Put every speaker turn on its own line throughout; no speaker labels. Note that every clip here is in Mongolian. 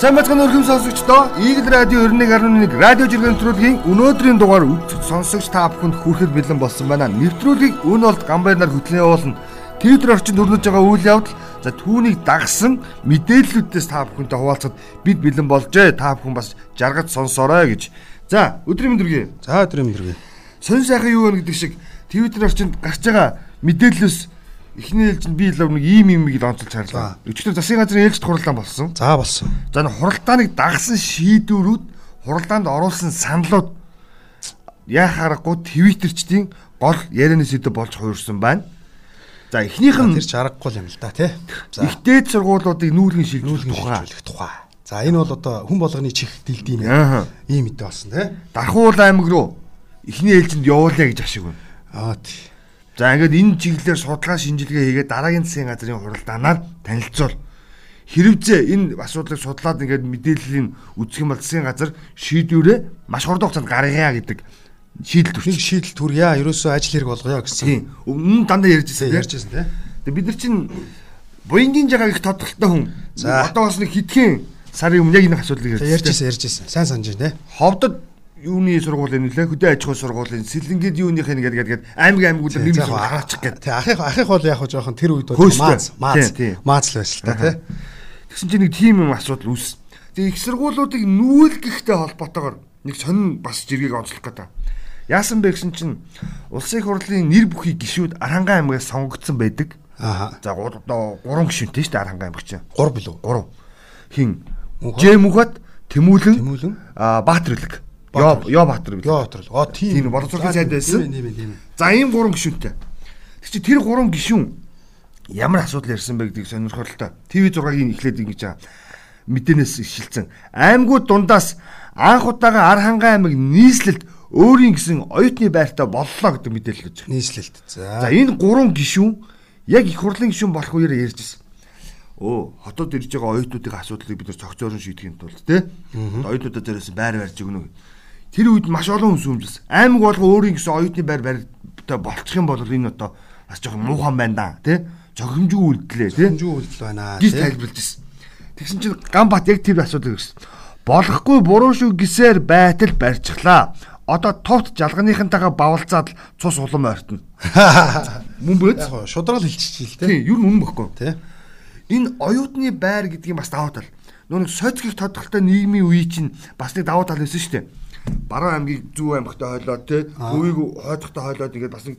Сайн бацхан өргөм сонсогчдоо Eagle Radio 91.1 радио жиргэн нэвтрүүлгийн өнөөдрийн дугаар үзэж сонсогч та бүхэнд хүрэхэд бэлэн болсон байна. Нэвтрүүлгийг өн олд гамбай нар хөтлөн явуулна. Твиттер орчинд өрнөж байгаа үйл явдал за түүнийг дагсан мэдээллүүдээс та бүхэнтэй хуваалцаад бид бэлэн болжээ. Та бүхэн бас жаргаж сонсоорой гэж. За өдрийн мэдрэг.
За өдрийн мэдрэг.
Сонь сайхан юу вэ гэдэг шиг Твиттер орчинд гарч байгаа мэдээллээс эхний ээлжинд би л нэг ийм юм ийг л онцолж харлаа. Өчигдөр засгийн газрын ээлжид хурлаан болсон.
За болсон.
За энэ хуралдааныг дагсан шийдвэрүүд хуралдаанд оруулсан саналууд яа харахгүй твиттерчдийн гол ярианы сэдв болж хуурсан байна. За эхнийх нь
Тэр ч аргагүй юм л да тий. За
ихтэй сургуулиудыг нүүлгэн шилжүүлэх тухай
хөгжүүлэх тухай. За энэ бол одоо хүн болгоны чих дэлдэйн
Ааха.
ээ. Ийм мэдээ болсон тий.
Дархуул аймаг руу эхний ээлжинд явуулъя гэж ашиг байна.
Аа тий.
За ингээд энэ чиглэлээр судалгаа шинжилгээ хийгээд дараагийн засгийн газрын хуралдаанаар танилцуул. Хэрвээ энэ асуудлыг судлаад ингээд мэдээллийн үзэх юм бол засгийн газар шийдвэрээ маш хурдан хугацаанд гаргая гэдэг шийдэл
Нэг
төрчих.
шийдэл төрья. Ерөөсөө ажил хэрэг болгоё гэсэн.
Тийм. Өмнө нь дандаа ярьж байсан.
Тий
тийм.
ярьжсэн тий.
Тэгээ бид нар чинь буянгийн жагаа их тодтолтой хүн.
За.
одоо бас нэг хитгэн сарын өмнө яг энэ асуудлыг
Тий ярьжсэн ярьжсэн. Сайн санаж байна тий.
Ховдод юуны сургуулийн нүлээ хөдөө аж ахуйн сургуулийн сэлэнгээд юуных нь гэдэг гэдэг аймаг аймаг үлээ нэг
За,
нэг гараачих гэдэг.
Тий ахих ахих бол яг хоо жоохон тэр үед бол
Хөөстэй.
маац маац
Тий, тий.
маац л байсан л да тий.
Тэгсэн чинь нэг тийм юм асуудал үүс. Тэгээ их сургуулиудыг нүүлгэхтэй холбоотойгоор нэг сонин бас жиргэг онцлох гэдэг. Яасан бэ гэсэн чинь улсын их хурлын нэр бүхий гишүүд Арангаа аймгаас сонгогдсон байдаг.
Ааха.
За гур- одоо 3 гишүүнтэй шүү дээ Арангаа аймаг чинь.
3 билүү.
3. Хин
Мөнхөд.
Жэмүхат, Тэмүүлэн,
Тэмүүлэн.
аа Баатарлаг. Ёо
Баатарлаг.
Ёо Баатарлаг.
Яа отрол. Аа тий.
Тийм, боловсролын сайд байсан.
Тийм ээ, тийм ээ.
За ийм гурван гишүүнтэй. Тэг чи тэр гурван гишүүн ямар асуудал ярьсан бэ гэдгийг сонирхолтой. ТV6-гийн эхлээд ингэж байгаа. Мэдэнэс ишилсэн. Аймагуд дундаас анх удаага Архангай аймаг нийслэлд өөрийн гэсэн оюутны байртаа боллоо гэдэг мэдээлэл өгч.
Нийслэлт. За.
За энэ гурван гишүүн яг их хурлын гишүүн болох үеэр ярьж ирсэн. Оо, хотод ирж байгаа оюутнуудын асуудлыг бид нар цогцоорн шийдэхин тулд тий. Оюутнуудаа зэрэгсэн байр барьж өгнө гэх. Тэр үед маш олон хүн сүмжилсэн. Аймаг болго өөрийн гэсэн оюутны байр барьтай болчих юм бол энэ одоо бас жоохон муухан байна да тий. Цогцомжгүй үлдлээ тий
Хэмжүү үйлдэл байна.
гэж
тий.
тайлбарлаж ирсэн. Тэгсэн чинь Гамбат яг тэр асуудал гэсэн. Болохгүй буруу шүү гисээр байтал барьчихлаа. Одоо товт жалганыхантайгаа бавалцаад л цус улам ойртно. Мөн бөөд.
Яг хоо шудрал хэлчихчихээ л тий.
Тийм, ер нь үнэн баггүй.
Тий.
Энэ оюутны байр гэдэг нь бас давуу тал. Нөө нэг соцгийг тодтолтой нийгмийн үе чинь бас нэг давуу тал байсан шүү дээ. Баруун аймгийг зүүн аймагтай хойлоод тий, өвийг хойдохтой хойлоод ингээд бас нэг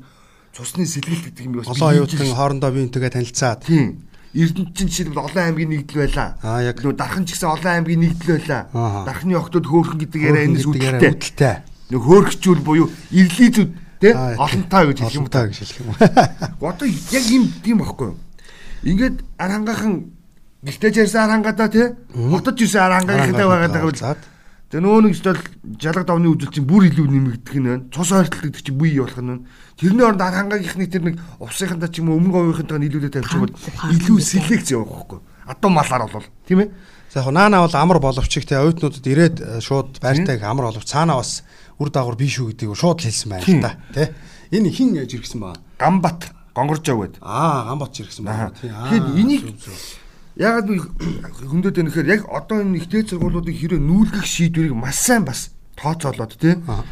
цусны сэлгэлт гэдэг юм бас
Олон оюутан хоорондоо биентэйгээ танилцаад
Тийм. Эрдэнэт чинь жишээлбэл олон аймгийн нэгдэл байлаа.
Аа, яг.
Нүү дархан ч гэсэн олон аймгийн нэгдэл байлаа.
Ааха.
Дархны октод хөөрхөн гэдэг яриа энэс
Хөөрхөн гэдэг
үүдэлтэй.
яриа үүдэлтэй.
Нүү хөөрхчүүл буюу ирлийзүүд тий
Аа,
олонтаа гэж хэлэх юм
Олонтаа гэж хэлэх юм.
Одоо яг юм тийм байхгүй юу? Ингээд архангаахан гэлтэй ярьсан архангадаа тий хотод ирсэн архангаагтай байгаад байгаа
Архангаагтай
бил. Тэгээ нөө нэг зүйл жалаг давны үзэл чинь бүр илүү нэмэгдэх нь байна. Цус ойртол гэдэг чинь бүй явуулах нь байна. Тэрний оронд архангаагийнхны тэр нэг увсынхантаа ч юм уу өмнө говийнхантаа нийлүүлээд тавьчихвал илүү селекц явах байхгүй юу? Адуу малаар болвол тийм ээ.
За яг хоо наана бол амар боловчиг те оюутнуудад ирээд э, шууд байртайг амар боловч цаана бас үр дагавар биш үү гэдгийг шууд л хэлсэн байна л
Тийм.
та тий. Энэ хин яж иргсэн ба.
Гамбат гонгорж аваад.
Аа гамбат иргсэн байна тий. Аа.
Тэгэхээр энийг ягаад би хөндөд байна гэхээр яг одоо энэ ихтэй сургуулиудын хэрэг нүүлгэх шийдвэрийг маш сайн бас тооцоолоод тий.
Аа.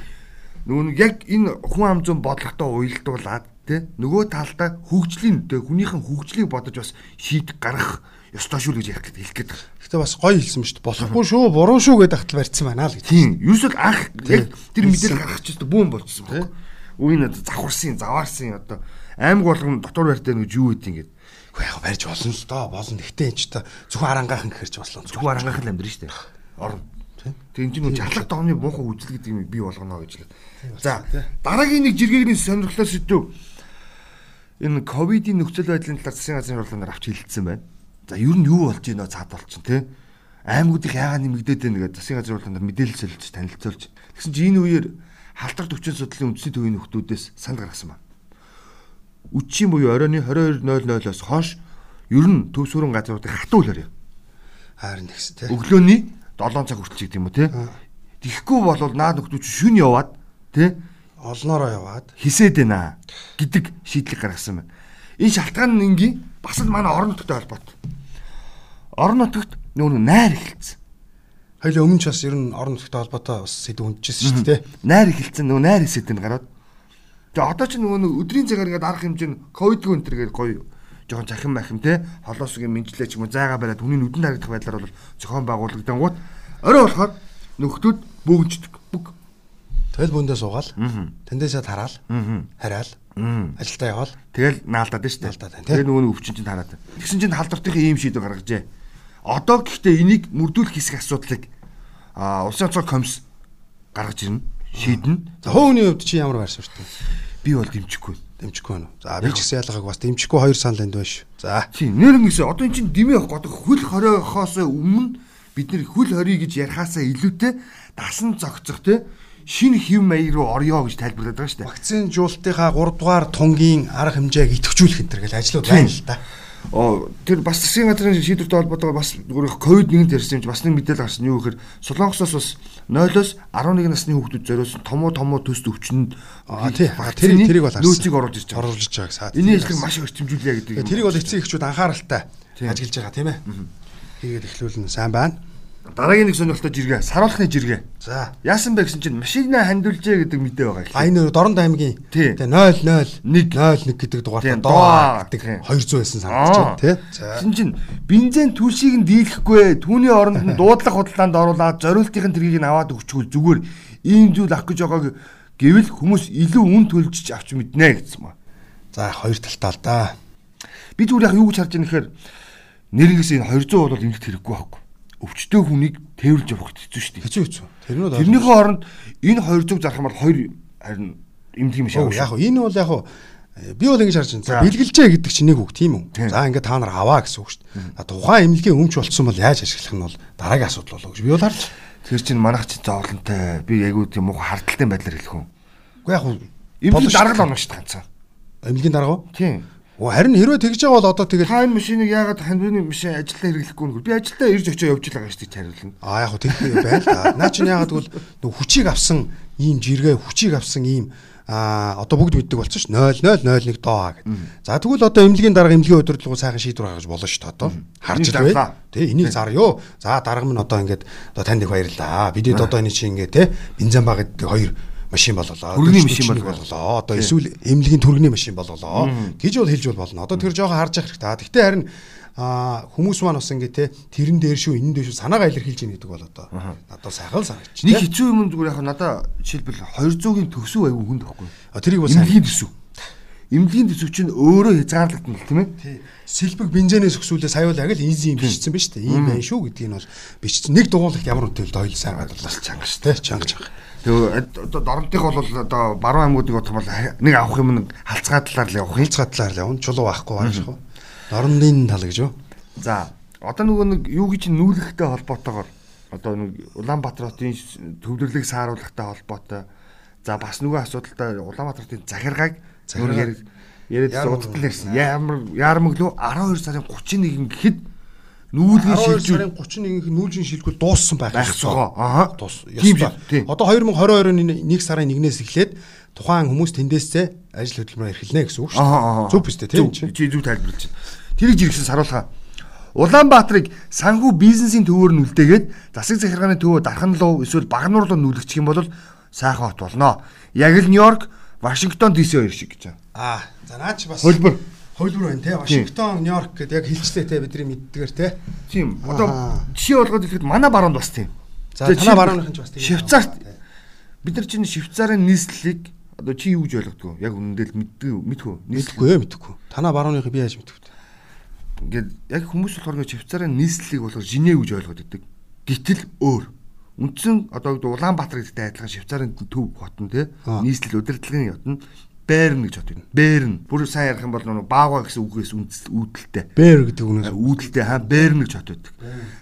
Нөгөө нэг яг энэ хүн ам зүйн бодлоготой уялдуулаад тий. Нөгөө талдаа хөгжлийн тий хүнийхэн хөгжлийг бодож бас шийд гарах ёстой шүү л гэж ярих гэдэг хэлэх гэдэг.
Гэтэ бас гоё хэлсэн ба шүү дээ. Болохгүй шүү, буруу шүү гэдэг хатал барьсан байна л гэж.
Тийм. Юусэл анх яг тэр мэдээлэл
Хэлсэн.
гаргах ч гэсэн бүүн болчихсон байна. Үгийн завхарсан, заваарсан одоо аймаг болгон дотор барьтай нэг юу гэдэг юм гээд.
Үгүй яг барьж болно л доо. Болно. Гэтэ энэ ч та зөвхөн арангаахан гэхэрч боллоо. Зөвхөн
Тэгвэл арангаах л амьдрын штэ. Орно. Тэг энэ чинь нөх жатлах тооны буухай үзэл гэдэг юм бий болгоно гэж л. За дараагийн нэг жиргэгийн сонирхолтой сэдв. Энэ ковидын нөхцөл байдлын талаар засгийн газрын хурлаар авч хэлэлцсэн байна. За ер нь юу болж байна цаад бол чинь те. Аймагуудыг яагаад нэмэгдээд байна гэдэг засгийн газрын хурлаар мэдээлэл солилцож танилцуулж. Тэгсэн чинь энэ үеэр халтрт өвчин судлалын үндэсний төвийн нөхдүүдээс санал гаргасан байна. Үчийн буюу оройн 22:00-оос хойш ер нь төв сүрэн газруудыг хатуулаарай
харин тэгсэн тий.
өглөөний 7 цаг хүртэл ч гэдэг юм уу те. Тэгэхгүй бол наад нөхдөө чинь шүн яваад те
Олноороо яваад
хисээд байна гэдэг шийдлийг гаргасан байна. Энэ шалтгаан нь энгийн бас л манай орон нутгад холбоотой. Орон нутгад нүүн найр эхэлсэн.
Хоёлаа өмнө ч бас ер нь орон нутгтай холбоотой бас сэдв хүндчихсэн шүү дээ.
Найр эхэлсэн нөгөө найр хэсэд нь гараад. Тэгээ одоо ч нөгөө нэг өдрийн цагаар ингээд арах хэмжээ нь ковидгүй энэ төр гээд гоё жоохон захин махим те холоосгийн мэнжлээ ч юм уу зайгаа бариад хүний нүдэнд харагдах байдлаар бол зохион байгуулагдангууд орой болохоор нөхдүүд бөөгнчдөг бүг.
Тэгэл бүндээ суугаал. Тэндээсээ тараал. Хараал. Ажилдаа яваал.
Тэгэл наалдаад шүү дээ.
Наалдаад байна, тий.
Тэгээ нөгөө нэг өвчин чинь тараад. Тэгсэн чинь халдвартынхаа ийм шийдвэр гаргажээ. Одоо гэхдээ энийг мөрдүүлэх хэсэг асуудлыг а улсын онцгой комисс гаргаж ирнэ. Шийднэ.
За хууны хувьд чи ямар байр суурьтай?
Би бол дэмжихгүй.
Дэмжихгүй байна уу? За би ч гэсэн ялгааг бас дэмжихгүй хоёр санал энд байна шүү. За.
Тий, нэрэн гэсэн одоо эн чинь дэмий явах гэдэг хөл хориохоос өмнө бид нэр хөл хорий гэж ярихаасаа илүүтэй дасан зогцох те шинэ хэв маяг руу орё гэж тайлбарлаад байгаа шүү дээ.
Вакцины жуултынхаа 3 дугаар тунгийн арга хэмжээг идэвхжүүлэх энэ төр гэл ажлууд байна л да.
Оо тэр бас засгийн газрын шийдвэртэй холбоотойгоор бас өөрөө ковид нэгт ярьсан юм чи бас нэг мэдээлэл гарсан юу гэхээр Солонгосоос бас 0-оос 11 насны хүүхдүүд зориулсан томо томо төст өвчнөд
Аа тий. Тэр тэрийг бол харсан.
нөөцийг оруулж ирж байгаа.
Оруулж байгаа гэсэн.
Энийн ажлыг маш өрчмжүүлээ гэдэг. юм.
тэрийг бол эцсийн эхчүүд анхааралтай ажиглаж байгаа тийм ээ. Хийгээд эхлүүлнэ. Сайн байна.
дараагийн нэг сонирхолтой жиргээ саруулхны жиргээ.
За.
Яасан бэ гэсэн чинь машинаа хандуулжээ гэдэг мэдээ байгаа их.
А энэ Дорн даймгийн
Тий.
001
Нэг.
01 гэдэг дугаартай
Тий, доо
доо
тий.
гэдэг 200 байсан санагдаж байна тий. За.
Тэгсэн чинь бензин түлшийг нь дийлэхгүй ээ. Түүний оронд нь дуудлага худалдаанд оруулаад зориултын тэргийг нь аваад өгчихгүй зүгээр ийм зүйл авах гэж байгааг гэвэл хүмүүс илүү үн төлжж авч мэднэ гэсэн маа.
За хоёр талтай л да.
Би зүгээр яг юу гэж харж байгаа нөхөр нэрнээс энэ 200 бол ингэх хэрэггүй байхгүй. Өвчтөө хүнийг тээвэрлж явах хэцүү шүү дээ.
Хэцүү хэцүү. Тэрнүүд
Тэрнийхөө оронд энэ 200 зарах юм бол хоёр харин эмдэх юм шиг
Оо,
авах шүү.
яг хөө энэ бол яг хөө э, би бол ингэж харж байна. За
За.
бэлгэлжээ гэдэг чинь нэг үг тийм
Тийм.
үү? За ингээд та нар аваа гэсэн үг шүү дээ. Тухайн эмнэлгийн өмч болцсон бол яаж ашиглах нь бол дараагийн асуудал болоо гэж би бол харж.
Тэр чинь манайх чинь зовлонтой. Би яг үгүй юм уу хардталтай байдлаар хэлэх юм.
Уу яг хөө
Эмнэлэг дарга л онно шүү дээ ганцаа.
эмнэлгийн дарга. уу?
Тийм.
Оо харин хэрвээ тэгж байгаа бол одоо тэгээд
Та энэ машиныг яагаад хандвны машин ажилдаа хэрэглэхгүй нүгэр? Би ажилдаа ирж очиж явж л байгаа шүү дээ хариулна.
А яг хөө тэггүй байл та. Наа чинь ягаад гэвэл нөх хүчийг авсан ийм жиргээ хүчийг авсан ийм а одоо бүгд мэддэг болсон ш 0001 доо гэдэг. За тэгвэл одоо эмнэлгийн дарга эмнэлгийн удирдлагуу сайхан шийдвэр гаргаж болно ш та одоо. Харж
Энийг зарлаа.
байна. Тэ энийг зарё. За дарга минь одоо ингээд одоо танд их баярлалаа. Бидэд одоо энэ чинь ингээд те бензин баг гэдэг хоёр машин болголоо.
Төргөний
40
машин
нэг
болголоо.
болголоо. Одоо эсвэл эмнэлгийн төргөний машин болголоо гэж бол хэлж бол болно. Одоо тэр жоохон харж явах хэрэгтэй. Гэхдээ харин а хүмүүс маань бас ингээ те тэрэн дээр шүү энэ дээр шүү санаагаа илэрхийлж ийн гэдэг бол одоо одоо сайхан л санагч
Нэг
те
хэцүү юм нь зүгээр яхаа надаа жишээлбэл 200-ийн төсөв аягүй хүнд байхгүй.
А, тэрийг бол сайн
Имлийн төсөв. Имлийн төсөв чинь өөрөө хязгаарлагдана л тийм ээ.
сэлбэг бензинээс өксүүлээ саявал яг л easy юм бичсэн байна шүү дээ ийм байна шүү гэдгийг нь бол бичсэн нэг дугуулах ямар үтэлд ойл сайн гадарлал чанга шүү те чанга чанга
Тэгээ одоо дорнтынх бол одоо баруун аймагуудыг бодох юм бол нэг авах юм нэг халцгаа талаар л явах юм.
хилцгаа талаар л явна чулуу байхгүй байна шүү дорнын тал гэж юу
За одоо нөгөө нэг юу гэж нүүлгэхтэй холбоотойгоор одоо нэг Улаанбаатар хотын с- төвлөрлөг сааруулахтай холбоотой. За бас нөгөө асуудалтай Улаанбаатар хотын захиргааг
Захиргаа.
нөгөө яриг- яриад
Яармаг
суудтал ярьсан. Ямар яармаг лөө 12 сарын 31 гэхэд нүүлгийн
12
шилжүүл
сарын 31-нд нүүлжин шилгүүл дууссан байх
байх
ёстой.
цогоо. Аха.
Дуус.
Тийм
ёстой.
шүү, тийм.
Одоо 2022 оны 1 сарын 1-ээс эхлээд тухайн хүмүүс тэндээсээ ажил хөдөлмөрөөр эрхэлнэ гэсэн үг шүү
Аха, аха.
дээ. Зөв биз дээ тийм
Зөв,
чи.
Чи зүг тайлбарлаж байна. Тэрийг жиргсэн саруулхаа. Улаанбаатарыг санхүү бизнесийн төвөөр нь үлдээгээд засаг захиргааны төвөө Дархан руу эсвэл Багнуур руу нүүлгэх юм бол сайхан хот болно. Яг л Нью-Йорк, Вашингтон ДС хоёр шиг гэж байна.
Аа, за наач бас
Хөлбөр.
Хөлбөр байна те. Вашингтон, Нью-Йорк гэдэг яг хилчлээ те бидний мэддгээр те.
Тийм. Одоо
Аха.
жишээ болгоод хэлэхэд манай баруунд бас тийм.
За,
Тэгээ,
танай
чи-
баруунынх нь ч бас тийм.
Швейцарт бид нар чинь Швейцарын нийслэлийг одоо чи юу гэж ойлгодгоо? Яг үнэндээ л мэддэг үү? мэдгүй. үү? Нийслэл
Мэдгүй ээ, мэдгүй. Танаа барууныхыг би яаж мэдвэ?
ингээд яг хүмүүс болохоор ингээд Швейцарын нийслэлийг болохоор Женев гэж ойлгоод байдаг. Гэтэл өөр. Үндсэн одоо гэдэг Улаанбаатар гэдэгтэй адилхан Швейцарын төв хот нь тий
Аа.
нийслэл удирдлагын хот нь Берн гэж хот байна. Берн. Бүр сайн ярих юм бол нөгөө баага гэсэн үгээс үндэс- үүдэлтэй.
Бэр гэдэг үгнээс
Үүдэлтэй хаа Берн гэж хот байдаг.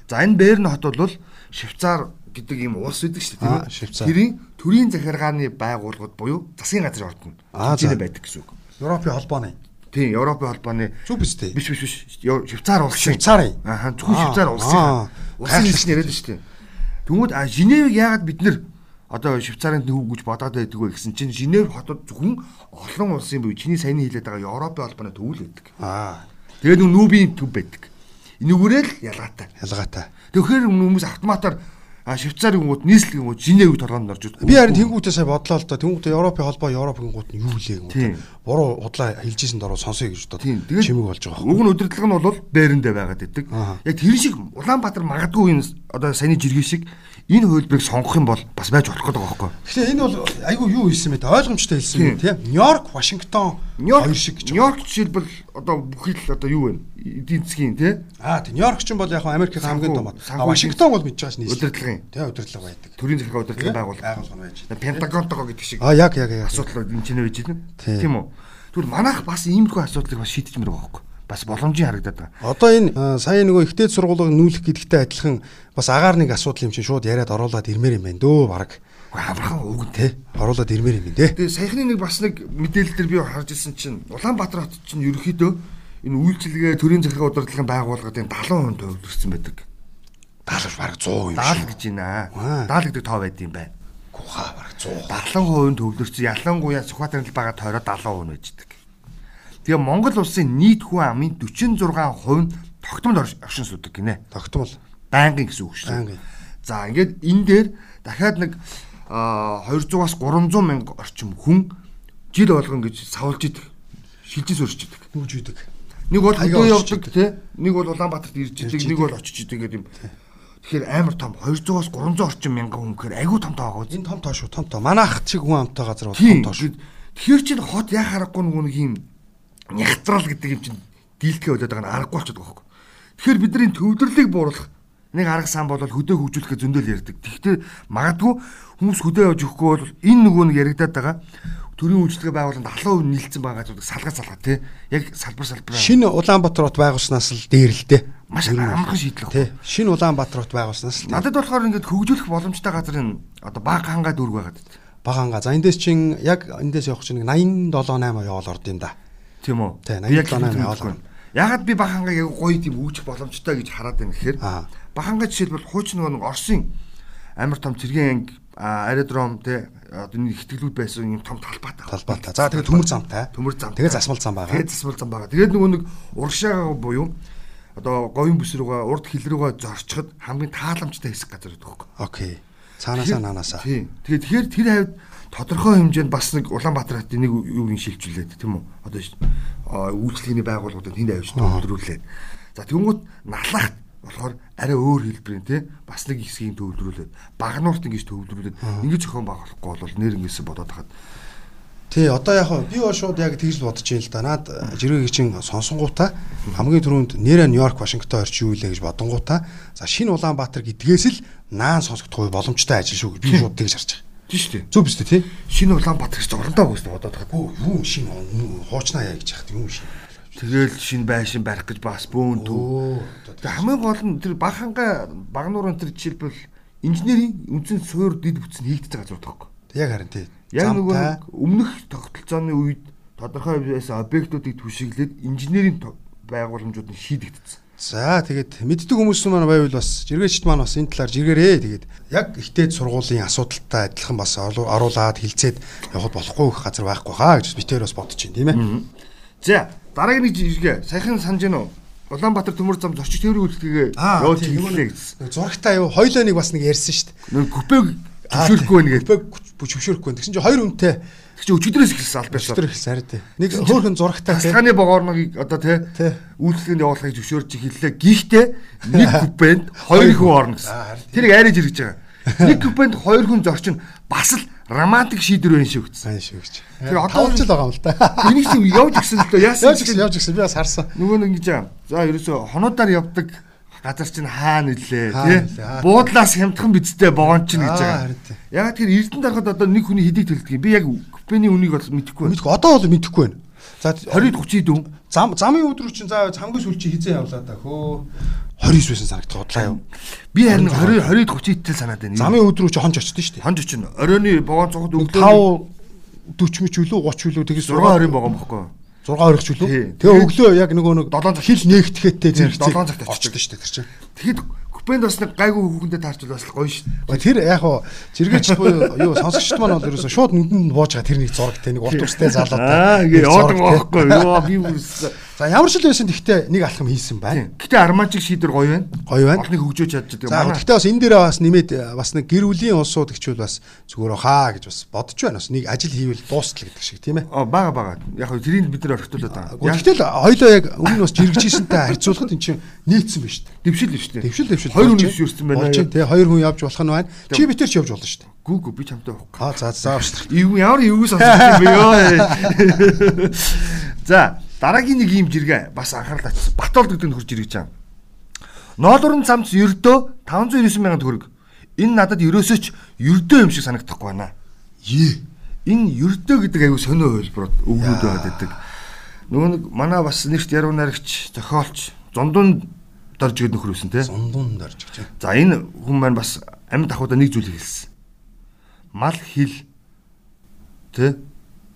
За энэ Берн хот бол Швейцар гэдэг ийм улс байдаг шүү дээ.
Аа,
тийм ээ?
Швейцар.
Тэрийн төрийн захиргааны байгууллагууд буюу засгийн газрын ордон.
Аа, за.
Тэнд байдаг гэсэн үг.
Европын холбооны.
Тийм, Европын холбооны
Зөв биз дээ.
биш биш биш Ё- Швейцар улсын
Швейцарын.
ааха зөвхөн
Аа,
Швейцар улсын
аа.
улсын хэлч нэрэд шүү дээ Тэгмүүд а Женевийг яагаад бид нэр одоо Швейцарын төв гэж бодоод байдаг вэ гэсэн чинь Женев хотод зөвхөн олон улсын буюу чиний саяны хэлээд байгаа Европын холбооны төв л байдаг
Аа,
Тэгээд нүү нүүбийн төв байдаг энэгээрээ л ялгаатай
ялгаатай.
Тэгэхээр хүмүүс автоматар А Швейцарын гүнгүүд, нийслэлийн гүнгүүд Женевийг торгоонд орж ирдэг.
Би харин тэнгуүтээ сая бодлоо л да. Тэнгуүтээ Европын холбоо, Европын гүнгүүд нь юу лээ
Тийм.
гүнгүүд. Буруу худлаа хэлжсэн дөрөв сонсоё гэж бодоод
Тийм. Тэгээд
чимэг болж байгаа.
Уг нь удирдлага нь бол бээрэндээ байгаад идэг.
Аа.
Яг тэр шиг Улаанбаатар магадгүй энэ с- одоо саяны жиргээ шиг энэ хөлбөрийг сонгох юм бол бас байж болох гэдэг байгаа байхгүй.
Гэхдээ энэ бол айгүй юу хэлсэн мэт ойлгомжтой хэлсэн
Тийм.
мэт тийм. Нью-Йорк, Вашингтон хоёр шиг гэж.
Нью-Йорк жишээлбэл одоо бүхий л одоо юу вэ? Эдийн засгийн тий
Аа тийм. Нью-Йорк ч юм бол яг хөө Америкийн хамгийн
Санхүү-
том бод.
санхүү
А Вашингтон бол мэдж байгаач нийслэл.
удирдлагын
Тийм удирдлага байдаг.
төрийн захиргаа удирдлагын байгууллага.
байгуулга байж.
Пентагонтойгоо гэдэг шиг
А яг яг яг.
асуудал энэ ч нэ байж байна.
Тийм.
Тийм үү? Тэгвэл манайх бас иймэрхүү асуудлыг бас шийдэж мэрэг байгаа байхгүй. Бас боломжийн харагдаад байгаа.
Одоо энэ а, сая нөгөө ихтэй сургуулийн нүүлэх гэдэгтэй адилхан бас агаар нэг асуудал юм чинь шууд яриад оруулаад ирмээр юм байна дөө баг.
Уу, Аврахан өгөн тий.
Тэ? Оруулаад ирмээр юм байна те.
Тэгээ саяхны нэг бас нэг мэдээлэл дээр би харж ирсэн чинь Улаанбаатар хот чинь ерөөхдөө энэ үйлчилгээ төрийн захиргаа удирдлагын байгууллагын 70% төвлөрсөн байдаг.
Даалгавч баг 100 юм
70
шиг.
гэж байна. аа.
Аа.
70 гэдэг тоо байд юм байна.
Гуха баг 100.
70% төвлөрсөн. Ялангуяа Сүхбаатарын талбайгаа тойроо 70% байждаг. Тэгээ Монгол улсын нийт хүн амын 46% нь тогтмол орш- оршин суудаг гинэ.
Тогтмол.
Байнгын гэсэн үг шүү.
Байнгын.
За ингээд энэ дээр дахиад нэг аа, 200-аас 300 мянга орчим хүн жил болгон гэж савлж идэг. Шилжиж өрч идэг.
Нүүж идэг.
Нэг бол
Хаяа
хөдөө
орчиж
явдаг тий, нэг бол Улаанбаатарт ирж идэг,
Ирж
нэг
идэг.
бол очиж идэг гэдэг юм. Тэгэхээр амар том 200-аас 300 орчим мянга хүн гэхээр айгүй том таагаа
Энэ том тоо шүү, том тоо. Манайх чиг хүн амтай газар бол
Тийм.
том тоо шүү.
Тэгэхээр чинь хот яа харахгүй нөгөө нэг юм нягтрал гэдэг юм чинь дийлдэхээ болоод байгаа нь аргагүй болчиход байгаа хөөхгүй. Тэгэхээр бид нар энэ төвлөрлийг бууруулах нэг арга сан бол хөдөө хөгжүүлэхэд зөндөл ярддаг. Тэгэхдээ магадгүй хүмүүс хөдөө явж өгөхгүй бол энэ нөгөө нэг яригадаад байгаа төрийн үйлчлэгээ байгуулалтанд 70% нийлцсэн байгаа зүйл салгаа салгаа тий. Яг салбар салбараа
Шинэ Улаанбаатар хот байгуулснаас л дээр л те.
маш амархан шийдлэх.
Тэ. Шинэ Улаанбаатар хот байгуулснаас л
Надад болохоор ингээд хөгжүүлэх боломжтой газар энэ одоо баг хангаа дүүрг байгаад байна.
баганга. За эндээс чин яг эндээс явах чинь 87 8 яваал орд юм да.
Тийм үү?
Тий,
Би яг
87 оноо
хэлэх
явуулгана.
юм. Ягаад би Бахангаа яг гоё тийм үүжих боломжтой гэж хараад байна гэхээр
Аа.
Бахангаа жишээлбэл хуучин нөгөө нэг Оросын амар том цэргийн анги а, аэродром тий одоо нэг ихтгэлүүд байсан юм том талбайтай.
Талбайтай. За тэгээд төмөр замтай.
Төмөр замтай.
Тэгээд засмал зам байгаа.
Тэгээд засмал зам байгаа. Тэгээд нөгөө нэг урагшаагаа буюу одоо говийн бүс рүүгээ урд хил рүүгээ зорчиход хамгийн тааламжтай хэсэг газар гэдэг хөөх.
Окей. Цаанаасаа наанасаа.
Тийм. Тэгээд тэгэхээр тэр хавьд тодорхой хэмжээнд бас нэг Улаанбаатар хотын нэг юу гин шилжүүлээд тийм үү? Одоо ш- а, үйлчлэгийн байгууллагуудад тэнд авчид төвлөрүүлээд. За тэгвэл налах болохоор арай өөр хэлбэрийн тий бас нэг хэсгийн төвлөрүүлээд багнуурт ингэж төвлөрүүлээд ингэж зохион байгуулахгүй бол нэр ингэсэн бодоод хахад
Тий, одоо яг хөө би бол шууд яг тэгж л бодож юм л да. Наад жиргэгийн чин сонсонгуудаа хамгийн түрүүнд нэрэ Нью-Йорк, Вашингтон орч юу илээ гэж бодонгуудаа за шинэ Улаанбаатар гэдгээс л наан сонсогдох үе боломжтой ажил шүү гэж би шууд тэгж харж байгаа.
тийм шүү дээ.
Зөв биз дээ тий?
Шинэ Улаанбаатар гэж орондоо гэсэн бодоод хахад.
Оо юу шинэ хуучнаа яа гэж яхад юм шинэ.
Тэгэл шинэ байшин барих гэж бас бөөн төв.
Оо.
Тэгээ хамгийн гол нь тэр баханга багнуурын тэр жишээлбэл инженерийн үнцэн суур дид бүтсэн хийгдэж байгаа зүйл тоххой.
Яг харин тий.
Яг нөгөө
Замтай.
нэг өмнөх тогтолцооны үед тодорхой байсан объектуудыг түшиглээд инженерийн то- байгууламжууд нь шийдэгдсэн.
За тэгээд мэддэг хүмүүс маань байвал бас жиргээчд маань бас энэ талаар жиргээрээ тэгээд яг ихтэй сургуулийн асуудалтай адилхан бас орлуу- оруулаад хилцээд явахд болохгүй их газар байхгүй хаа гэж битээр бас бодож байна тийм ээ.
За дараагийн нэг жиргээ саяхан санаж гэнэ үү? Улаанбаатар төмөр зам зорчигч тээврийн үйлчилгээ явуулж
тийм, нөгөө
хэллээ
нэг-
гэсэн.
нөгөө Зурагтай юу хоёлоо нэг бас нэг ярьсан шүү дээ.
Нэг купег төвшөөрөхгүй нэгэ.
Бэг бүчвшөөрөхгүй. Тэгсэн чинь хоёр үнтэй
Тэг чи өчигдрээс эхэлсэн аль байсан.
өчтөр хэлсэн хараа дээ. Нэг хөөхөн зурагтай тийм.
Тасганы богоорногийг одоо тий
Тий.
үйлчлэгэнд явуулахыг зөвшөөрч хэллээ. Гэхдээ нэг купенд хоёр хүн орно
Аа,
гэсэн.
харин
Тэрийг арайж иргэж байгаа. Нэг купенд хоёр хүн зорчин бас л романтик шийдвэр байна шүү гэсэн.
сайн шүү гэж.
Тэр
Тэр
одоо-
одоо л байгаа юм л да.
Энийг чинь явж гисэн л дөө яасан
Явж
ч
гисэн явж гисэн би бас харсан.
нөгөө нэг ингэж аа. За ерөөсөө хонуудаар явдаг газар чинь хаана илээ
Хаана
тий
нэлээ, хаана.
буудлаас хямдхан бицтэй богоон чинь гэж
Аа,
байгаа.
харин тий.
Яг тэр эрдэнэ дарахад одоо нэг хүний хэдийг төлдөг юм. Би яг купений үнийг бол мэдэхгүй байна.
Мэдгүй одоо бол мэдэхгүй байна. За
20-д 30-д дүн.
зам замын өдрүү чинь заавал хамгийн сүүл чи хизээ явлаа та хөө 29 байсан санагдах бодлаа юу.
Би харин 20 20-д 30-д санаад байна.
Замын өдрүү чи хонж очсон шүү дээ.
Хонж очин оройны богоон цогт өглөө
5 40 мч үлүү 30 үлүү тэгээс
6 20 богоон бохгүй.
6 20 ч үлүү.
Тий.
Тэгээ өглөө яг нөгөө нэг
7 цаг
хил
Тий,
нээгдэхэттэй зэрэг
долоон цагт очдог.
очсон шүү дээ тэр чинь.
Тэгэхэд купенд бас нэг гайгүй хүүхэндээ таарчвал бас л гоё шин.
Тэр яг хоо зэрэгч буюу юу сонсогчд маань бол ерөөсө шууд нүдэнд бууж байгаа тэр нэг зураг те нэг урт устэй залуу те.
Аа ингээ
Нэг зураг,
яваад
те.
байгаа байхгүй. Йоо би бүрс
За ямар ч л байсан тэгтээ нэг алхам хийсэн байна.
Гэтэ армажиг шийдвэр гоё байна.
Гоё байна.
Орныг хөгжөөж чаддаг юм
За
байна.
гэхдээ бас энэ дээрээ бас нэмээд э, бас нэг гэр бүлийн улсууд гэчүүл бас зүгээр хаа гэж бас бодож байна. Бас нэг ажил хийвэл дуустал гэдэг шиг тийм ээ.
Оо бага бага. Яг хөө тэрийг бид нэр орхитуулаад байгаа. Яг
Гэхдээ л хоёлоо яг өмнө бас жиргэжсэнтэй харьцуулахад эн чинь нийцсэн байна
дэвшил
шүү дээ.
нь шүү дээ.
Дэвшил дэвшил
Хоёр хүн
болж байна.
өвсөрсөн байна.
Болж байна, тий хоёр хүн явж болох нь байна. Чи битэрч явж болно шүү дээ.
Гүү гүү би чамтай явахгүй.
Аа за за авч.
Эвгүй ямар эвгүй сонсох юм бэ ёо. За дараагийн нэг ийм жиргээ бас анхаарал татсан. Батолд гэдэг нь хурж ирэж байгаа. Ноолорн цамц ердөө 599 сая төгрөг. Энэ надад ерөөсөө ч ердөө юм шиг санагдахгүй байна.
Е.
Энэ ердөө гэдэг аягүй сонио хөлбөрөд өвгүүд байгаад байдаг. Нөгөө нэг манай бас нэгт яруу найрагч, зохиолч, зундун дорж гэдэг нөхөр үсэн тий.
Сундунд орж гэж.
За энэ хүн маань бас амьд ахуудаа нэг зүйл хэлсэн. Мал хил тий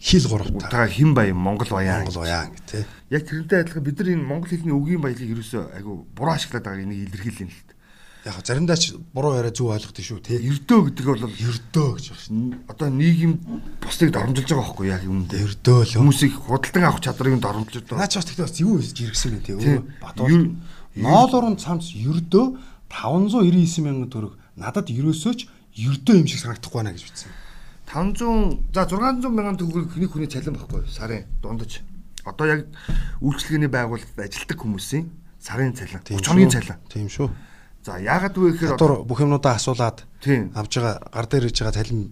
Хил гуравтаа.
утгаа хим баян Монгол баян.
Монгол уяан гэх тий.
Яг тэрнтэй адилхан бид нар энэ монгол хэлний үгийн баялыг ерөөсөө айгүй буруу ашиглаад байгааг энийг илэрхийлэн л дээ.
Яг хөө заримдаа ч буруу яриа зөв ойлгохтой шүү тий.
Ердөө гэдэг бол
Ердөө гэж байна.
н- одоо нийгэм бусдыг дормжилж байгаа байхгүй яг юм дээр.
Ердөө л юм.
Хүмүүсийг худалдан авах чадрыг нь дормжилж байгаа.
Наач бас тэгтээ бас юу хийж жиргсэн юм тий.
Тий.
Өө батуул.
Ер-
Ноолорн цамц ердөө 599 мянган төгрөг надад ерөөсөө ч ердөө юм шиг санагдахгүй байна гэж бичсэн.
500 за 600 мянган төгрөг нэг хүний цалин байхгүй юу? сарын дундаж. Одоо яг үйлчлэгээний байгууллагад ажилладаг хүмүүсийн сарын цалин 30 хоногийн цалин.
Тийм шүү.
За яагаад вэ гэхээр одоо-
Хатур бүх юмудаа асуулаад
Тийм.
авж байгаа гар дээр иж байгаа талин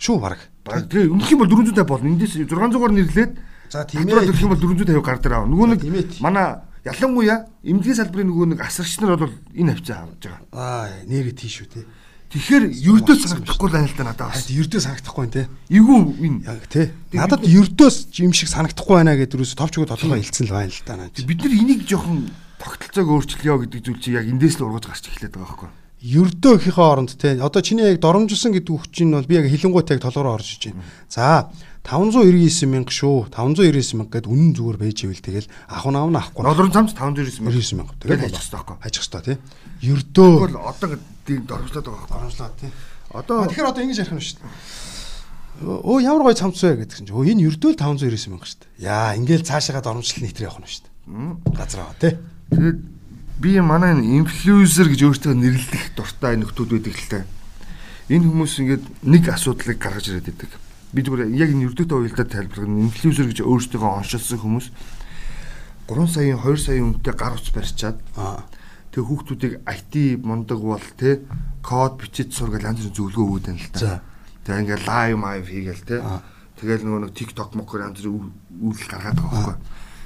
шүү баг.
Баг тэгээ өмнөх юм бол 450 болно. Эндээс 600-аар нэрлээд
За, тийм ээ.
Тодорхой төрх юм бол 450 гар дээр авна. Нөгөө
Тийм ээ.
нэг манай ялангуяа эмнэлгийн салбарын нөгөө нэг асарч нар бол энэ хвцаа авч байгаа.
Аа нэрээ тийш шүү те.
Тэгэхээр ердөө санагдахгүй л анилтаа надад бас.
Хад ердөө санагдахгүй байна те.
Эйгүү энэ.
Яг те. Надад ердөөс юм шиг санагдахгүй байна гэдэг юус товч өгөө толгой хилцэн л байна л да наач.
Бид нар энийг жоохон тогтолцоог өөрчлөё гэдэг зүйл чи яг эндээс л ургаж гарч эхлэдэг байгаа байхгүй.
Ердөө ихийнхээ оронд те. Одоо чиний яг доромжилсан гэдэг үг чинь бол би яг хилэнгуйтай яг толгороо орж иж байна. За 599 мянга шүү. 599 мянга гэд үнэн зүгээр байж ивэл тэгэл ах нь авна ахгүй.
Долларын цамц 599
99 мянга.
Тэгэл ажих хэрэгтэй байхгүй.
Ажих хэрэгтэй те. Ердөө
Тэгвэл одоо гэдэг дөрвөлдөд байгаа байхгүй.
оромжлаа те.
Одоо
А тэгэхээр одоо ингэж ярих юм шүү дээ. Өө ямар гоё цамц вэ гэдэг чинь. Өө энэ ердөө л 599 мянга шүү дээ. Яа, ингээл цаашаага дормжлол нийтрээ явах нь шүү дээ. Газар аваа тий.
Тэгээд би манай энэ инфлюенсер гэж өөртөө нэрлэх дуртай нөхдүүд байдаг л таа. Энэ хүмүүс ингээд нэг асуудлыг гаргаж ирээд байдаг. Би зүгээр яг энэ өрдөгтэй уялдаа тайлбарлах нь инфлюенсер гэж өөртөө оншилсан хүмүүс 3 саяын 2 саяын үнэтэй гар утс барьчаад
Аа.
тэг хүүхдүүдийг IT мундаг бол те код бичиж сур гэж янз бүрийн зөвлөгөө өгөөд байна л
За.
та. Тэг ингээд лайв майв хийгээл те.
Аа.
Тэгэл нөгөө нэг TikTok мокор янз бүрийн үйл гаргаад байгаа байхгүй.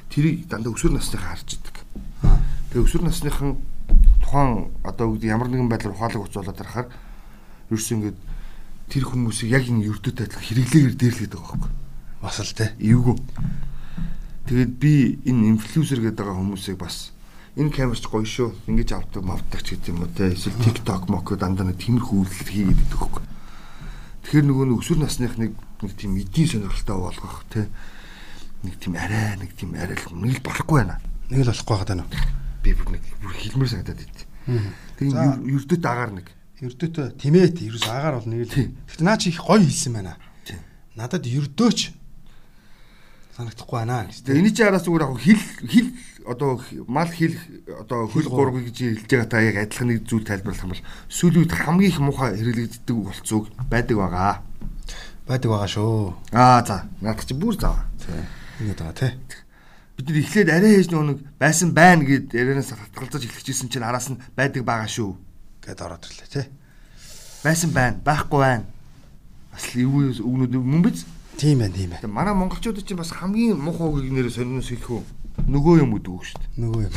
Тэрийг дандаа өсвөр насныхаа харж идэг. Тэг өсвөр насныхан тухайн одоо үгд ямар нэгэн байдлаар ухаалаг уцуулаад харахаар ерөөс ингээд тэр хүмүүсийг яг энэ ердөөтэй адилхан хэрэглээгээр дээрлэдэг байгаа байхгүй.
Бас л тий.
Эвгүй. Тэгээд би энэ инфлюенсер гэдэг байгаа хүмүүсийг бас энэ камерч гоё шүү. Ингиж авдаг, мавдаг ч гэдэг юм уу те. Эсвэл TikTok мок дандаа нэг тиймэрхүү үйлдэл хийгээд байдаг хөөхгүй. Тэгэхээр нөгөө нэг өсвөр насных нэг нэг тийм эдийн сонирхолтой болгох те. Нэг тийм арай нэг тийм арай л нэг л болохгүй байна.
Нэг л болохгүй байгаа даа.
Би бүр нэг бүр хилмэр санагдаад байт.
За.
Тэгээд ердөт агаар нэг.
Ердөөтэй тэмээт ерөөс агаар бол нэг л.
Тий.
Гэтэ наа чи их гоё хэлсэн байна.
Тийм.
Надад ердөөч санагдахгүй байна гэж тий.
Тэгээ энэ чинь араас зүгээр яг хил хил одоо х- мал хил одоо хөл гурвыг гэж хэлж байгаа та яг адилхан нэг зүйл тайлбарлах юм бол сүүлийн үед хамгийн их муухай хэрэглэгддэг болцоог байдаг байгаа.
Байдаг байгаа шүү.
Аа за наад чи бүр зав.
Ингээд байгаа тий.
Бид нар эхлээд арай хийж нөгөө нэг байсан байна гэд ярианаас татгалзаж эхлэхжсэн чинь араас нь байдаг байгаа шүү.
Гэт ороод ирлээ тий.
Байсан байна, байхгүй байна. Бас л эвгүй өгнөд мөн биз?
Тийм байна, тийм байна.
Тэгээ манай монголчууд чинь бас хамгийн муухай үг нэрээр сониноос хэлэх үү? Нөгөө юм гэдэг үг шүү дээ.
Нөгөө юм.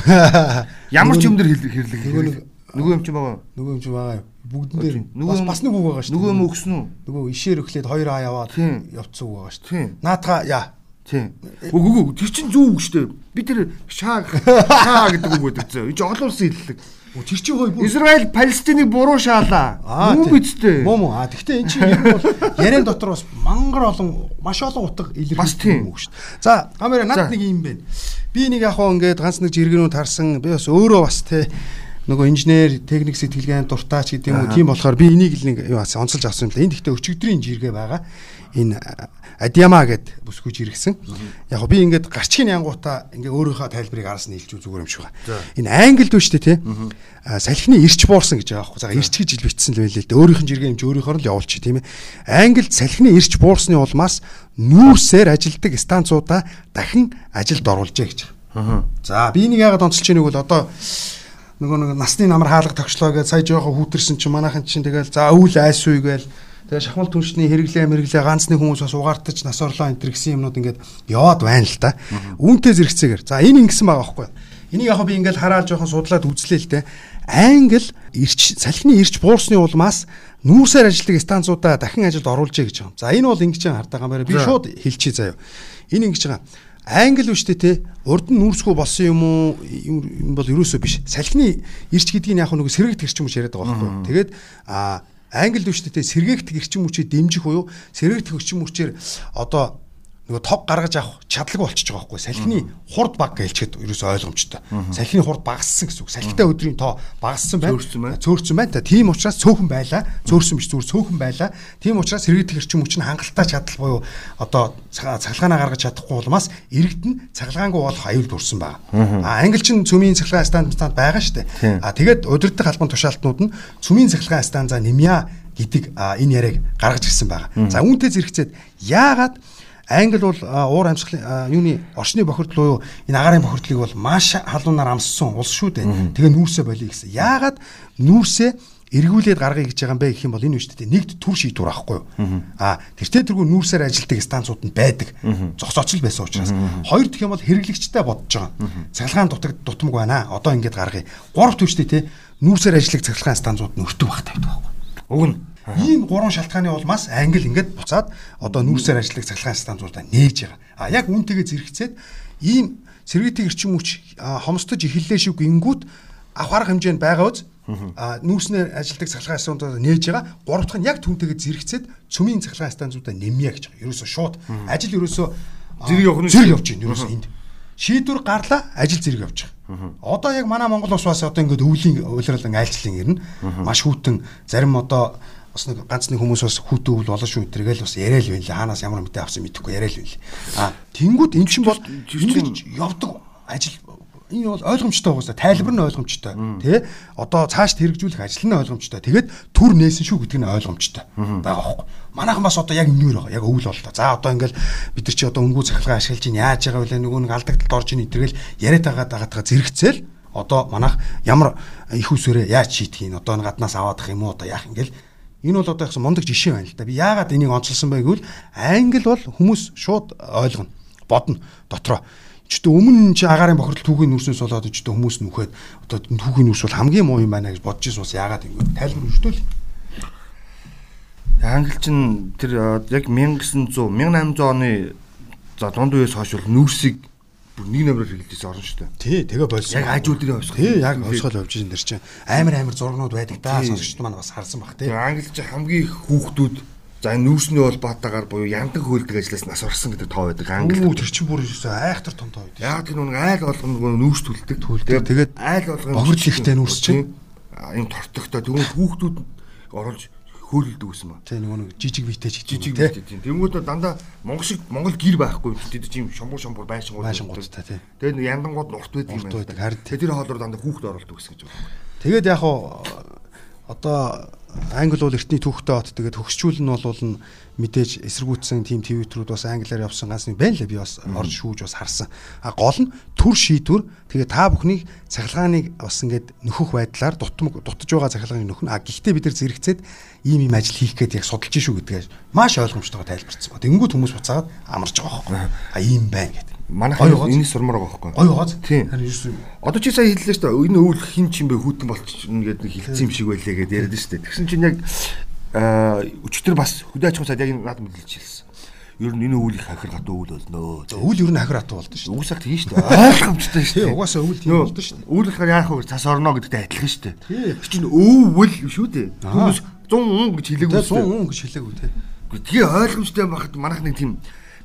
Ямар ч
Нөгөө-
юм дээр хэл- хэрлэг
нөгөө
хэрэглэг.
нэг-
Нөгөө юм чинь байгаа юм.
нөгөө юм чи байгаа юу? Бүгдэн дээр
Нөгөө
бас бас нэг үг байгаа шүү.
Нөгөө юм өгсөн үү?
нөгөө ишээр өглөөд хоёр аа яваад
Тийм.
явцсан үг байгаа шүү.
Тийм.
Наатаха яа.
Тийм. Үг үг үг. тэр чинь зүг үг шүү дээ. Би тэр шаа шаа гэдэг үг байдаг зөө. Энд чинь олон улсын хэллэг.
Оо тэр чинь хой бүр
Израиль Палестиныг буруу шаалаа. Мөн бидтэй.
Мөн мөн. Аа тэгтээ эн чинь ер нь бол яриан дотор бас мангар олон маш олон утга
Бас
илэрхийлсэн
тийм.
үг шүү. За, камера
За.
над нэг юм байна. Би нэг яг хоо ингээд ганц нэг жиргэнүү тарсан. Би бас өөрөө бас те нөгөө инженер, техник сэтгэлгээний дуртайч гэдэг юм уу. Тийм болохоор би энийг л нэг юу асан онцолж авсан юм л. Энд тэгтээ өчигдрийн жиргээ байгаа. энэ Адиама гэд бүсгүйж иргсэн. Яг би ингээд гарчгийн янгуута ингээ өөрийнхөө тайлбарыг араас нь хэлж зүгээр юм шиг байна. Энэ англид биш үү те? А, Салхины ирч буурсан гэж байгаа байхгүй. За ирч гэж ил бичсэн л байлээ л дээ. Өөрийнх нь жиргээ юмч өөрийнхөө л явуулчих тийм ээ. Англид салхины ирч буурсны улмаас нүүрсээр ажилдаг станцуудаа дахин ажилд оруулжээ гэж. Аа. За би энийг яагаад онцолж ийнэг бол одоо нөгөө нэг насны намар хаалга тогшлоо гэж сая жоохон хүүтэрсэн чинь манайхан чинь тэгэл за өвөл айс уу гээл тэгээ шахмал түншний хэрэглээ мэрэглээ ганцны хүмүүс бас угаартаж нас орлоо энэ төр гэсэн юмнууд ингээд яваад байна л та. Үүнтэй зэрэгцээгээр. За энэ ингэсэн байгаа байхгүй. Энийг яг би ингээд хараад жоохон судлаад үзлээ л те. Англ ирч салхины ирч буурсны улмаас нүүрсээр ажилладаг станцуудаа дахин ажилд оруулжээ гэж байгаа юм. За энэ бол ингэж хартаа гамбараа би шууд хэлчихье заяа. Энэ ингэж байгаа. Англ биш үү те урд нь нүүрсгүй болсон юм уу юм бол ерөөсөө биш салхины ирч гэдэг нь яг нэг сэргээгт гэрчим хүч яриад байгаа байхгүй тэгээд а англ биш үү те сэргээгт гэрчим хүчийг дэмжих буюу сэргээгт гэрчим хүчээр одоо нөгөө тог гаргаж авах чадлаг болчихж байгаа байхгүй салхины хурд баг гэлчихэд ерөөсөө ойлгомжтой салхины хурд багассан гэсэн үг салхитай өдрийн тоо багассан байна
Цөөрсөн байна.
цөөрсөн байна та тийм учраас цөөхөн байлаа цөөрсөн биш зүгээр цөөхөн байлаа тийм учраас сэргээгт хэрчим хүч нь хангалттай чадал буюу одоо ца- цахилгаанаа гаргаж чадахгүй улмаас иргэд нь цахилгаангүй болох аюулд хүрсэн байна а англичин цөмийн цахилгаан стандарт стандарт байгаа штэ а тэгээд удирдах албан тушаалтнууд нь цөмийн цахилгаан станцаа нэмья гэдэг а, энэ яриаг гаргаж ирсэн байна за үүнтэй зэрэгцээд яагаад Англи бол а, уур амьсгалын а, юуны орчны бохирдол уу энэ агарын бохирдлыг бол маш халуунаар амссан улс шүү дээ. Тэгээ нүүрсэ болиё гэсэн. Яагаад нүүрсэ эргүүлээд гаргая гэж байгаа юм бэ гэх юм бол энэ үсттэй нэгд төр шийдвэр аахгүй юу. А тэртээ тэргүй нүүрсээр ажилдаг станцууд нь байдаг. Зогсооч л байсан учраас. Хоёр дэх юм бол хэрэглэгчтэй бодож байгаа. Цахилгаан дутаг дутмаг байна. аа, Одоо ингэж гаргая. Гурав төвчтэй те нүүрсээр ажиллах цахилгаан станцууд нь өртөв байх тавьдаг байхгүй юу.
Өгнө.
Ийм гурван шалтгааны улмаас англ ингээд буцаад одоо нүүрсээр ажиллах цахилгаан станцуудаа нээж байгаа. А яг үнтэйгээ зэрэгцээд ийм сэргээтэй эрчим хүч а, хомсдож эхэллээ шүү гингүүт авах арга хэмжээнд байгаа үз а нүүрснээр ажилладаг цахилгаан станцуудаа нээж байгаа. Гурав дахь нь яг түнтэйгээ зэрэгцээд цөмийн цахилгаан станцуудаа нэмье гэж байгаа. Ерөөсө шууд ажил ерөөсө а,
Зэрэг явах нь-
зэрэг явж байна ерөөсө энд. Шийдвэр гарлаа, ажил зэрэг явж байгаа. Одоо яг манай Монгол улс бас одоо ингээд өвлийн уйлралан айлчлалын ирнэ. Маш хүүтэн зарим одоо бас нэг ганцны хүмүүс бас хүүтэн өвл болно шүү тэргээл бас яриа л байлаа. Хаанаас ямар мэдээ авсан мэдэхгүй яриа л байлаа. А тэнгууд энэ чинь бол ингэж явдаг ажил энэ бол ойлгомжтой байгаа тайлбар нь ойлгомжтой тий одоо цаашд хэрэгжүүлэх ажил нь ойлгомжтой тэгээд төр нээсэн шүү гэдэг нь ойлгомжтой байгаа хөөхгүй манайхан бас одоо яг нүүр байгаа яг өвөл боллоо за одоо ингээл бид нар чи одоо өнгөө цахилгаан ашиглаж ин яаж байгаа вэ нөгөө нэг алдагдлаар орж ин итэргээл яриад байгаа дагаатаа зэрэгцээл одоо манайх ямар их усөрөө яаж шийдэх юм одоо энэ гаднаас аваадах юм уу одоо яах ингээл Энэ бол одоо ягсан мундаг жишээ байна л да. Би яагаад энийг онцлсан бэ гэвэл англ бол хүмүүс шууд ойлгоно, бодно дотроо. Чөтө өмнө нь чи агарын бохирдол түүхийн нүрснээс болоод чөтө хүмүүс нүхэд одоо түүхийн нүрс бол хамгийн муу юм байна гэж бодож ирсэн бас яагаад юм бэ? Тайлбар өгдөл.
Англичин тэр э, яг 1900 1800 оны за дунд үеэс хойш бол нүүрсийг бүр нэг номероор хэрэглэжсэн орн шүү дээ.
Тий, тэгээ болсон.
Яг ажил дээр явсах.
Тий, яг онцгой явж байгаа дэр чинь. Амар амар зургнууд байдаг да.
Тий.
Сонсогчд маань бас харсан бах тий.
Тэгээ англич хамгийн их хүүхдүүд за энэ нүүрсний бол батагаар буюу яндан хөөлдөг ажлаас нас орсон гэдэг тоо байдаг англи.
Үгүй тэр чинь бүр ерөөсөө айхтар том тоо үед.
Яг тэр нэг айл болгоно нөгөө нүүрс төлдөг.
Түлдэг. Тэгээд
айл болгоно.
богино ихтэй нүүрс чинь.
Ийм тортогтой тэгвэл хүүхдүүд оруулж хөөлдөг гэсэн ба.
Тий, нөгөө нэг жижиг битэй ч
Жижиг
тий.
бит тийм. Тэнгүүд нь дандаа монгол шиг монгол гэр байхгүй юм. Тэд чинь шомбур шомбур байшингууд.
Байшингуудтай, тий.
Тэгээд нэг яндангууд нурт байдаг юм
Нурт байдаг, харин тий.
Тэгээд тэр хоолоор дандаа хүүхд оруулдаг гэсэн гэж байна.
Тэгээд яг уу одоо англи бол эртний түүхтэй хот тэгээд хөгсчүүл нь бол нь мэдээж эсэргүүцсэн тийм твиттерүүд бас англиар явсан ганц нэг байна лээ би бас орж шүүж бас харсан. А гол нь төр шийдвэр тэгээд та бүхний цахилгааныг бас ингээд нөхөх байдлаар дутмаг дутж байгаа цахилгааныг нөхнө. А гэхдээ бид нэр зэрэгцээд ийм ийм ажил хийх гээд яг судалж шүү гэдгээ маш ойлгомжтойгоо тайлбарцсан ба. Тэнгүүд хүмүүс буцаад амарч байгаа хөөхгүй. А ийм байна гэдэг.
Манайхан энэ сурмаар байгаа байхгүй.
Ой гоц.
Тийм.
Харин ерөөсөн
Одоо чи сая хэллээ шүү дээ. Энэ өвөл хин ч юм бэ хүүтэн болчихно гэдэг нэг хэлсэн юм шиг байлээ гэдээ яриад шүү дээ. Тэгсэн чинь яг аа өчтөр бас хөдөө аж ахуйн цаад яг надад мэдлэлж хэлсэн. Ер нь энэ өвөл их хахир гат өвөл болно.
үйл ер нь хахир атуу болдсон шүү.
Үгүй сах тийм шүү дээ. Ойлгомжтой шүү
Тий,
дээ.
угаасаа өвөл тийм болдсон шүү.
Өвөл хахир яах вэ? Цас орно гэдэгтэй адилхан шүү дээ. Тэр чинь өвөл шүү дээ. Хүмүүс 100 ун гэж хэлээгүй
Тэгээд
шүү дээ.
100 хүн гэж хэлээгүй те.
Гэхдээ тгээ ойлгомжтой байхад манайх нэг тийм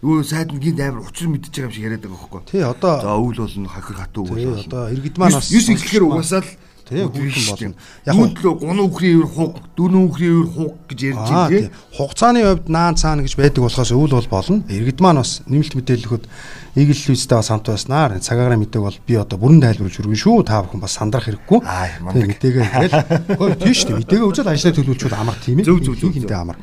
нөгөө сайд нь гинт амар учир мэдчихэж байгаа юм шиг яриад байгаа байхгүй.
Тий, одоо-
за өвөл болно хахир хатуу
Тий,
өвөл болно.
одоо иргэд маань бас
юус ихлэхээр угаасаа л
тий
Үгүй
хүүхэн
шүү дээ.
болно. Яг нь
Дүүдлөө гун үхрийн өөр хуг, дөрөн үхрийн өөр хуг гэж ярьж
Аа,
байгаа тий.
тий. Хугацааны хувьд наан цаана гэж байдаг болохоос өвөл бол болно. Иргэд маань бас нэмэлт мэдээлэл өгөхөд Игэл Лүстэй бас хамт байснаар цагаараа мэдээг бол би одоо бүрэн тайлбарж өргөн шүү. Та бүхэн бас сандрах хэрэггүй.
Ай,
Тий,
мандаг.
мэдээгээ тэгэл. Хөөе тийш тий мэдээгээ үзэл ажлаа төлөвлүүлчихвэл амар тийм ээ.
Зөв, зөв, зөв,
Хинтээ
зөв.
амар.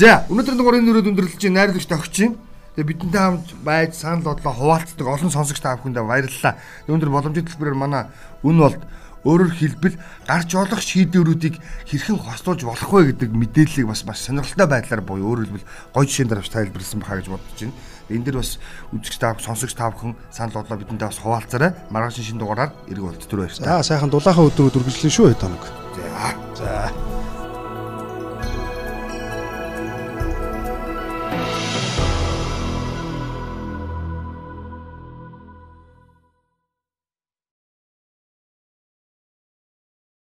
За, өнөөдөр дугаарыг нөрөөд өндөрлөж чинь найрлагч тагчин. Тэгээ бидэнтэй хамт байж санал бодлоо хуваалцдаг олон сонсогч та бүхэндээ баярлалаа. Өнөөдөр боломжит хэлбэрээр манай үн болт өөрөөр хэлбэл гарч олох шийдвэрүүдийг хэрхэн хослуулж болох вэ гэдэг мэдээллийг бас маш сонирхолтой байдлаар буюу өөрөөр хэлбэл гоё жишээн дараач тайлбарлсан байхаа гэж бодож байна. Энд дээр бас үзэгч та бүхэн, сонсогч та бүхэн санал бодлоо бидэнтэй бас хуваалцаарай. Маргааш шинэ дугаараар эргүүлж түр баярлалаа.
За сайхан дулаахан өдрүүд үргэлжлэн шүү хэд хоног.
За.